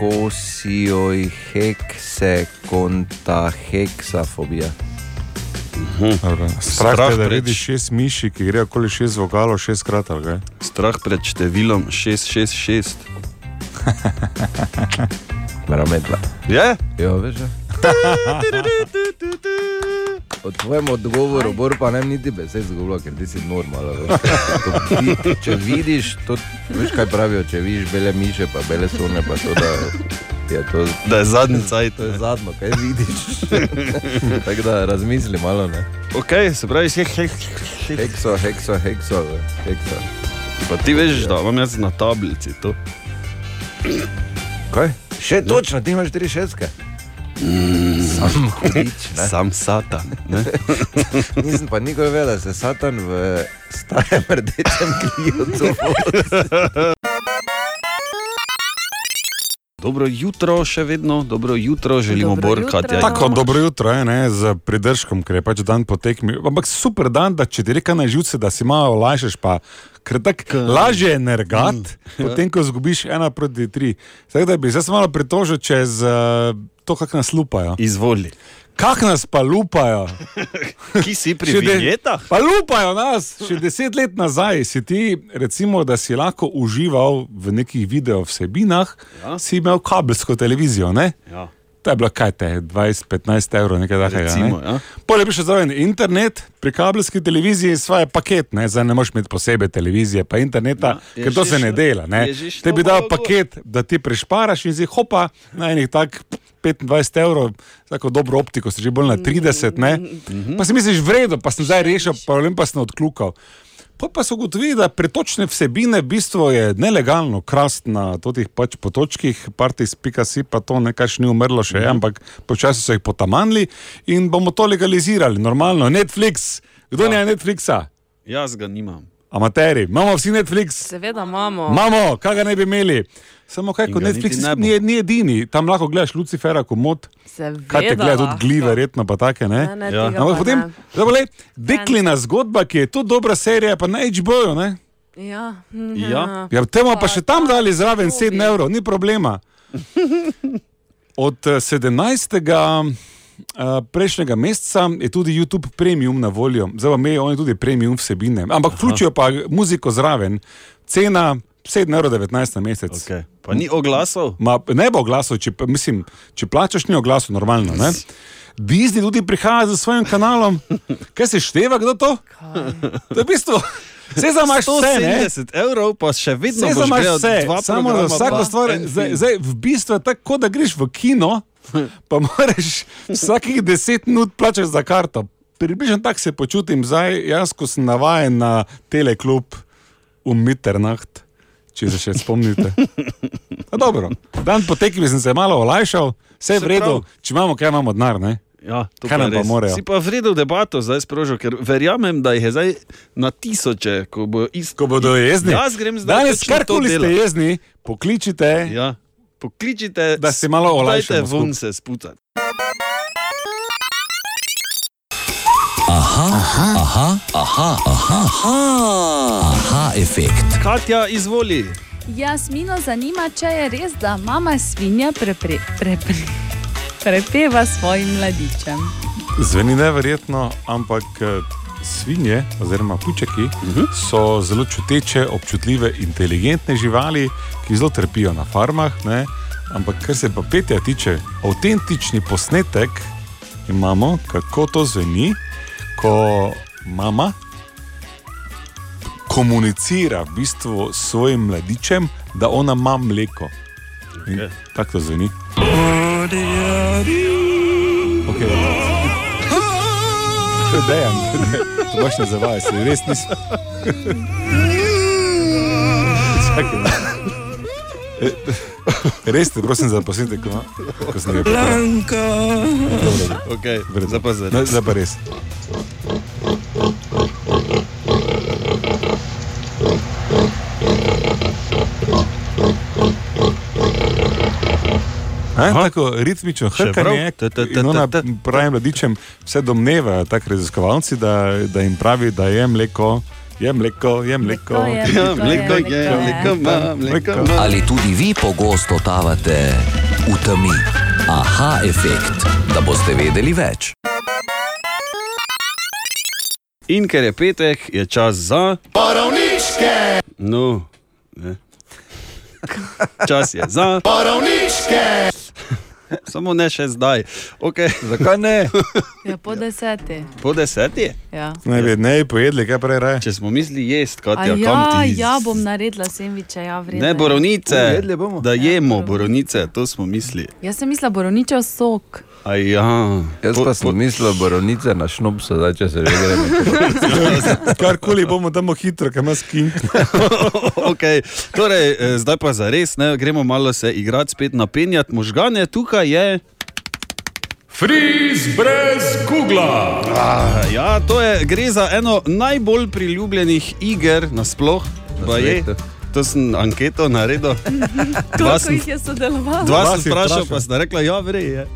Speaker 1: kosioj, hekse, konta, heksafobija.
Speaker 3: Strah,
Speaker 4: Strah
Speaker 3: Torej, Strah te, da
Speaker 4: preč.
Speaker 3: vidiš šest miši, ki grejo okoli šest vokalov, šest krat. ali kaj?
Speaker 4: Strah pred številom 666.
Speaker 1: Merametla.
Speaker 4: Je?
Speaker 1: Ja, veš. ja. O tvojem odgovoru, Bor, pa ne bi niti besed izgubila, ker ti si normalen. veš. Ko vi- Če vidiš, to, veš kaj pravijo, če vidiš bele miše, pa bele sune, pa to da je to.
Speaker 4: Da je zadnji cajt.
Speaker 1: To je zadnjo, kaj vidiš. Tako da razmisli malo. Ne?
Speaker 4: Ok, se pravi, si hek, hek.
Speaker 1: Hekso, hekso, hekso, hekso.
Speaker 4: Pa ti veš, da imam jaz na tablici to.
Speaker 1: Kaj? Še točno, ti imaš tri šestke. Sam hudič, ne?
Speaker 4: Sam satan. ne?
Speaker 1: Nisem pa nikoli vedel, da se satan v starem rdečem križu.
Speaker 4: Dobro jutro, še vedno dobro jutro, želimo
Speaker 3: Dobro
Speaker 4: Bor, Katja.
Speaker 3: Tako dobro jutro je, ne, z pridržkom, ker je pač dan potekmi. Ampak super dan, da če ti reka na živce, da si malo lajšaš, pa ker tako lažje je nergat, mm. [laughs] potem ko zgubiš ena proti tri. Tako da bi se jaz malo pritožil čez eh, to, kako nas lupajo.
Speaker 4: Izvoli.
Speaker 3: Kak nas pa lupajo?
Speaker 4: Ki
Speaker 3: Še
Speaker 4: si pri
Speaker 3: de-
Speaker 4: vinjetah?
Speaker 3: Pa lupajo nas, še deset let nazaj si ti, recimo, da si lahko užival v nekih video vsebinah, ja. si imel kabelsko televizijo. Ne?
Speaker 4: Ja.
Speaker 3: To je bilo kaj te, 20-15 evrov, nekaj takega.
Speaker 4: Recimo, ja.
Speaker 3: ne? Pol je bil še zraven internet, pri kabelski televiziji svoje paket, ne, zdaj ne moreš imeti posebej televizije, pa interneta,
Speaker 4: Ja,
Speaker 3: ja,
Speaker 4: je
Speaker 3: ker to
Speaker 4: že
Speaker 3: se ne
Speaker 4: šlo-
Speaker 3: dela. Ne.
Speaker 4: je že šlo
Speaker 3: Te bi dal
Speaker 4: malo gor.
Speaker 3: paket, da ti prešparaš in si hopa na enih tak 25 evrov, tako dobro optiko, si že bolj na 30, ne. Pa si misliš, vredo, pa sem zdaj rešil, problem pa sem odkljukal. Pa pa so ugotovili, da pretočne vsebine v bistvu je nelegalno krast na teh pač potočkih, partis.si pa to nekaj še ni umrlo še, ampak počasi so jih potamanili in bomo to legalizirali, normalno. Netflix, kdo ne je Netflixa?
Speaker 4: Jaz ga nimam.
Speaker 3: Amateri, imamo vsi Netflix.
Speaker 18: Seveda imamo.
Speaker 3: Imamo, kaj ga ne bi imeli. Samo kaj, kot
Speaker 4: ga niti
Speaker 3: Netflix
Speaker 4: ne bo.
Speaker 3: ni, ni edini, tam lahko gledaš Lucifera, komod.
Speaker 18: Seveda.
Speaker 3: Kaj te gleda, tudi
Speaker 18: lahko.
Speaker 3: gli, verjetno pa take. Ne? No,
Speaker 18: Ne, ne, Ja. tega
Speaker 3: Ampak
Speaker 18: pa
Speaker 3: potem,
Speaker 18: ne.
Speaker 3: zdaj pa glej, deklina zgodba, ki je tudi dobra serija, pa na HBO-ju. ne.
Speaker 18: Ja.
Speaker 3: Ja, temu pa še tam dali zraven 7 evrov, ni problema. Od eh, 17. eh, prejšnjega meseca je tudi YouTube premium na voljo, zdaj pa imajo oni tudi premium vsebine, ampak vključijo pa muziko zraven. Cena 7,19 evrov na mesec. Okay.
Speaker 4: Pa ni oglasov?
Speaker 3: Ma, ne bo oglasov, če, pa- mislim, če plačaš, ni oglasov, normalno. Ne? Disney tudi prihaja z svojim kanalom. Kaj se števa, kdo to? To je v bistvu. Vse za maš vse, ne?
Speaker 4: 170 evrov, pa še vedno
Speaker 3: Vse za
Speaker 4: boš
Speaker 3: maš
Speaker 4: gledal
Speaker 3: vse, samo
Speaker 4: dva
Speaker 3: za
Speaker 4: programa, pa
Speaker 3: vsako stvar.
Speaker 4: en
Speaker 3: Zdaj,
Speaker 4: film.
Speaker 3: zdaj, v bistvu je tako, kot da greš v
Speaker 4: [laughs]
Speaker 3: kino, pa moraš vsakih 10 minut plačati za karto. Približno tako se počutim zdaj, jaz, ko sem navaden na teleklub v Mitternacht, če se še
Speaker 4: [laughs]
Speaker 3: spomnite. A dobro, dan po tekmi sem se malo olajšal, vse je v redu, če imamo, kaj imamo denar. ne?
Speaker 4: Ja, to
Speaker 3: Kaj nam pa
Speaker 4: res.
Speaker 3: morejo?
Speaker 4: Si pa vredno debato zdaj sprožil, ker verjamem, da jih je zdaj na tisoče, ko bo isto.
Speaker 3: Ko bodo jezni.
Speaker 4: Jaz grem zdaj.
Speaker 3: Danes,
Speaker 4: točno to
Speaker 3: karkoli ste
Speaker 4: delat.
Speaker 3: jezni, pokličite,
Speaker 4: Ja, pokličite,
Speaker 3: da se malo olajšate.
Speaker 4: Dajte vun se spucati.
Speaker 1: Aha, aha, aha, aha, aha, aha, aha efekt.
Speaker 4: Katja, izvoli.
Speaker 7: Jasmino zanima, če je res, da mama svinja prepre, prepre, prepeva svojim mladičem.
Speaker 3: Zveni neverjetno, ampak eh, svinje, oziroma pučeki, uh -huh. so zelo čuteče, občutljive, inteligentne živali, ki zelo trpijo na farmah. Ne? Ampak kar se pa petja tiče, avtentični posnetek imamo, kako to zveni, ko mama komunicira v bistvu s svojim mladičem, da ona ima mleko. Okay. Tako to zveni. Okay, to je [laughs] dejan, to baš ne zavaja, se res nisem. Čakaj, no. E, Res te prosim za posnetek, ko, ko sem ga prebral.
Speaker 4: Okay, zdaj pa zdaj.
Speaker 3: No, Zdaj pa res. A, tako ritmično
Speaker 4: Še
Speaker 3: hrkanje,
Speaker 4: prav? Ta, ta, ta,
Speaker 3: in ona
Speaker 4: ta, ta.
Speaker 3: pravi mladičem, vse domnevajo tako raziskovalci, da, da jim pravi, da je mleko, je mleko, je mleko.
Speaker 4: Ja, mleko je,
Speaker 7: ja.
Speaker 4: mleko ja. ima, mleko ima.
Speaker 1: Ali tudi vi pogosto totavate v temi? Aha efekt, da boste vedeli več.
Speaker 4: In ker je petek, je čas za.
Speaker 8: Parovničke!
Speaker 4: No, ne. Čas je za.
Speaker 8: Parovničke!
Speaker 4: Samo ne še zdaj. Okay.
Speaker 19: Zakaj ne?
Speaker 7: Ja, po deseti.
Speaker 4: Po deseti?
Speaker 7: Ja.
Speaker 3: Ne bi, ne bi pojedli, kaj prej
Speaker 4: [laughs]
Speaker 3: raje.
Speaker 4: Če smo mislili jesti,
Speaker 7: A
Speaker 4: Katja, kam
Speaker 7: Ja,
Speaker 4: ti?
Speaker 7: ja, bom naredila sendviče, ja, vredno.
Speaker 4: Ne,
Speaker 7: je.
Speaker 4: borovnice, da
Speaker 7: Ja,
Speaker 4: jemo borovnice, to smo mislili.
Speaker 7: Jaz sem mislila borovničev sok.
Speaker 4: Aj, [laughs] ja.
Speaker 19: Jaz pa sem mislil, borovnice na šnopsu, zdaj če se že gremo.
Speaker 3: Karkoli bomo, damo hitro, kam nas kim.
Speaker 4: okay. torej, eh, zdaj pa za res, gremo malo se igrati, spet napenjati možgane, tukaj je.
Speaker 8: Friz brez Google!
Speaker 4: Ah, ja, to je, gre za eno najbolj priljubljenih iger nasploh. baje.
Speaker 19: svetu.
Speaker 4: To sem anketo naredil. Dva
Speaker 7: Koliko
Speaker 4: sem,
Speaker 7: jih je sodelovalo?
Speaker 4: dva sem vprašal, pa sta rekla, ja, vrej je.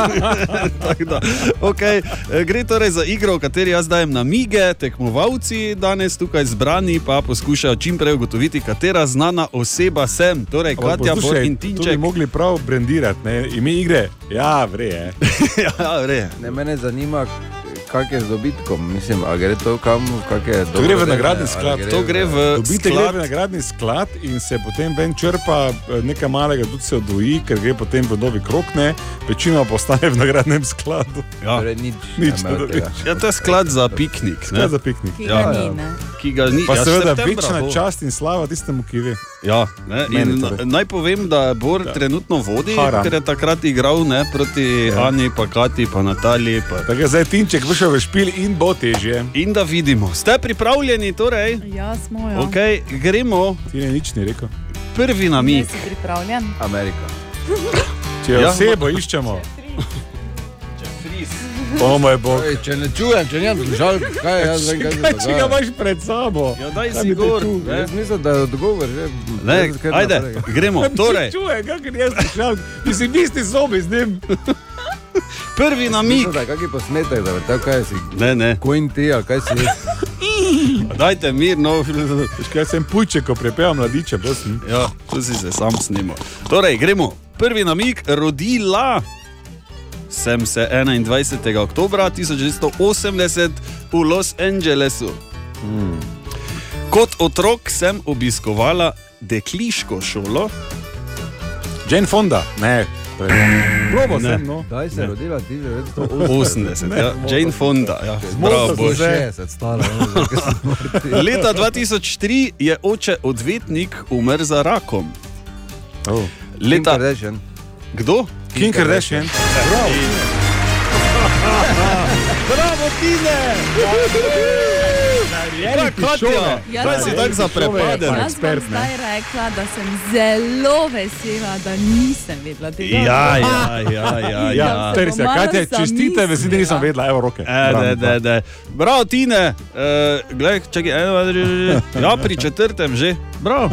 Speaker 4: [laughs] Tako da, okay. eh, Gre torej za igro, v kateri jaz dajem namige, tekmovalci danes tukaj zbrani pa poskušajo čim prej ugotoviti, katera znana oseba sem. Torej, Katja, Bor in
Speaker 3: To bi
Speaker 4: Tinček.
Speaker 3: mogli prav brandirati, ne? ime igre. Ja, vre je.
Speaker 4: [laughs] ja, vre.
Speaker 19: Ne, mene zanima,
Speaker 1: kak je z dobitkom? Mislim, a gre to kam, kak je
Speaker 3: To gre v nagradni sklad. Dobite gre v
Speaker 1: nagradni
Speaker 3: nagradni sklad in se potem ven črpa eh, nekaj malega, tudi se odvoji, ker gre potem v novi krok, ne, večina pa ostane v nagradnem skladu.
Speaker 1: Ja. Torej nič,
Speaker 3: [laughs]
Speaker 1: ne
Speaker 3: nič ne
Speaker 1: imajo
Speaker 3: dobiš.
Speaker 1: tega.
Speaker 4: Ja, to je sklad za piknik. ne.
Speaker 3: Sklad za piknik.
Speaker 4: Ki ga Ja. ni, ne. Ki ga ni.
Speaker 3: Pa
Speaker 4: Ja,
Speaker 3: seveda
Speaker 4: septembra
Speaker 3: večna
Speaker 4: bo.
Speaker 3: čast in slava tistemu, ki ve.
Speaker 4: Ja, ne,
Speaker 3: Meni
Speaker 4: in
Speaker 3: torej.
Speaker 4: naj povem, da Bor
Speaker 3: Ja.
Speaker 4: trenutno vodi,
Speaker 3: Hara.
Speaker 4: ker je takrat igral ne, proti ja. Ani, pa Kati, pa Nataliji. Pa...
Speaker 3: Tako je zdaj Tinček vršel v špil in bo težje.
Speaker 4: In da vidimo. Ste pripravljeni? Torej?
Speaker 7: Ja, smo jo.
Speaker 4: Okay, gremo.
Speaker 3: Ti ne nič ni rekel.
Speaker 4: Prvi na mi.
Speaker 7: Si pripravljen?
Speaker 1: Amerika.
Speaker 3: Če
Speaker 4: Ja.
Speaker 3: ja. osebo iščemo. O moj bog.
Speaker 1: Če ne čujem, če nimam žal, kaj je jaz,
Speaker 3: Čakaj, če ja, ga imaš pred sabo.
Speaker 4: Ja, daj
Speaker 3: Kaj bi te
Speaker 4: gor,
Speaker 3: tu?
Speaker 4: ne.
Speaker 1: Mislim, da je odgovor že.
Speaker 4: Ne,
Speaker 1: Jaz kar
Speaker 4: ajde,
Speaker 1: naprej.
Speaker 3: [laughs]
Speaker 4: gremo. Torej,
Speaker 3: Čuje, kak je jaz slišal. Mislim, isti zobi z njim.
Speaker 4: Prvi namig.
Speaker 1: Mislim, da je kaki posmetek, da je tako, kaj si.
Speaker 4: Ne, ne.
Speaker 1: Kojn ti, ali kaj si.
Speaker 4: Dajte no. mirno.
Speaker 3: Škaj sem pujček, ko prepevam mladiče, prosim.
Speaker 4: [laughs] Ja, tu si se sam snimo. Torej, gremo. Prvi namig, rodila sem se 21. oktober 1980 v Los Angelesu. Hmm. Kot otrok sem obiskovala dekliško šolo.
Speaker 3: Jane Fonda, ne. to je- Probo
Speaker 4: Ne.
Speaker 3: sem, no.
Speaker 1: Kaj se je rodila, ti že več
Speaker 4: 80, ja. Jane Fonda, ja. bravo, Bož.
Speaker 1: 60, stara. ne, kaj
Speaker 4: [laughs]
Speaker 1: si morati.
Speaker 4: Leta 2003 je oče odvetnik umrl za rakom.
Speaker 3: Oh.
Speaker 4: Leta... Kim
Speaker 1: Kardashian.
Speaker 4: Kdo?
Speaker 3: Kim Kardashian.
Speaker 4: Bravo. Bravo, Tine! Ja, Katja,
Speaker 7: Jaz
Speaker 4: kaj si
Speaker 7: sem-
Speaker 4: tako zaprepaden?
Speaker 7: Jaz sem zdaj rekla, da sem zelo vesela, da nisem vedela tega.
Speaker 4: Ja, ja, ja, ja. ja.
Speaker 3: ter se, kaj te čestite, veš, da nisem vedela, evo roke.
Speaker 4: E, de, de, de. Bravo, Tine, uh, gledaj, čakaj, eno, dva, tri, štiri. ja, pri četrtem že, bravo,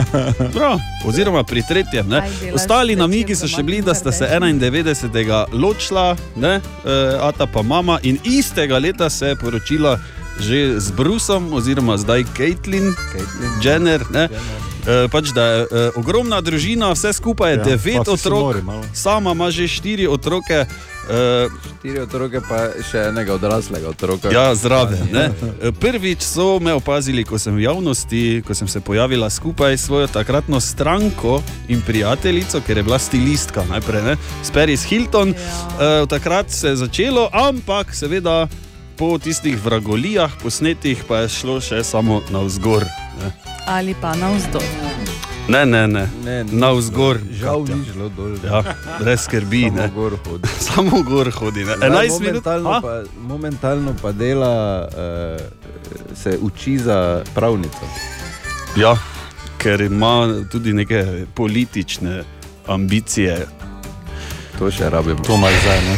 Speaker 4: bravo. oziroma pri tretjem. Ne.
Speaker 3: Kaj delaš
Speaker 4: Ostali namigi so še bili, da sta se 91. ločila, ne, uh, ata pa mama in istega leta se je poročila že z Brusom, oziroma zdaj Caitlin, Caitlin. Jenner. Ne. Eh, Pač, da je eh, ogromna družina, vse skupaj je
Speaker 3: Ja,
Speaker 4: devet
Speaker 3: pa se se
Speaker 4: otrok,
Speaker 3: mori malo.
Speaker 4: sama ima že štiri otroke. eh,
Speaker 1: Štiri otroke, pa še enega odraslega otroka.
Speaker 4: Ja, zraven. ne. Prvič so me opazili, ko sem v javnosti, ko sem se pojavila skupaj s svojo takratno stranko in prijateljico, ker je bila stilistka najprej, ne? s Paris Hilton. Ja. Takrat se je začelo, ampak seveda po tistih vragolijah, posnetih, pa je šlo še samo navzgor. Ne,
Speaker 7: Ali pa navzdol.
Speaker 4: ne, ne, ne. ne navzgor.
Speaker 1: Žal ni šlo dol.
Speaker 4: Ja, brez skrbi. Samo
Speaker 1: gor hodi.
Speaker 4: [laughs] Samo gor hodi. ne.
Speaker 1: Zdaj
Speaker 4: 11 minut. Ah.
Speaker 1: momentalno
Speaker 4: A?
Speaker 1: pa- Momentalno pa dela, eh, se uči za pravnico.
Speaker 4: Ja, ker ima tudi neke politične ambicije.
Speaker 1: To še rabimo.
Speaker 3: To imaš zdaj, ne?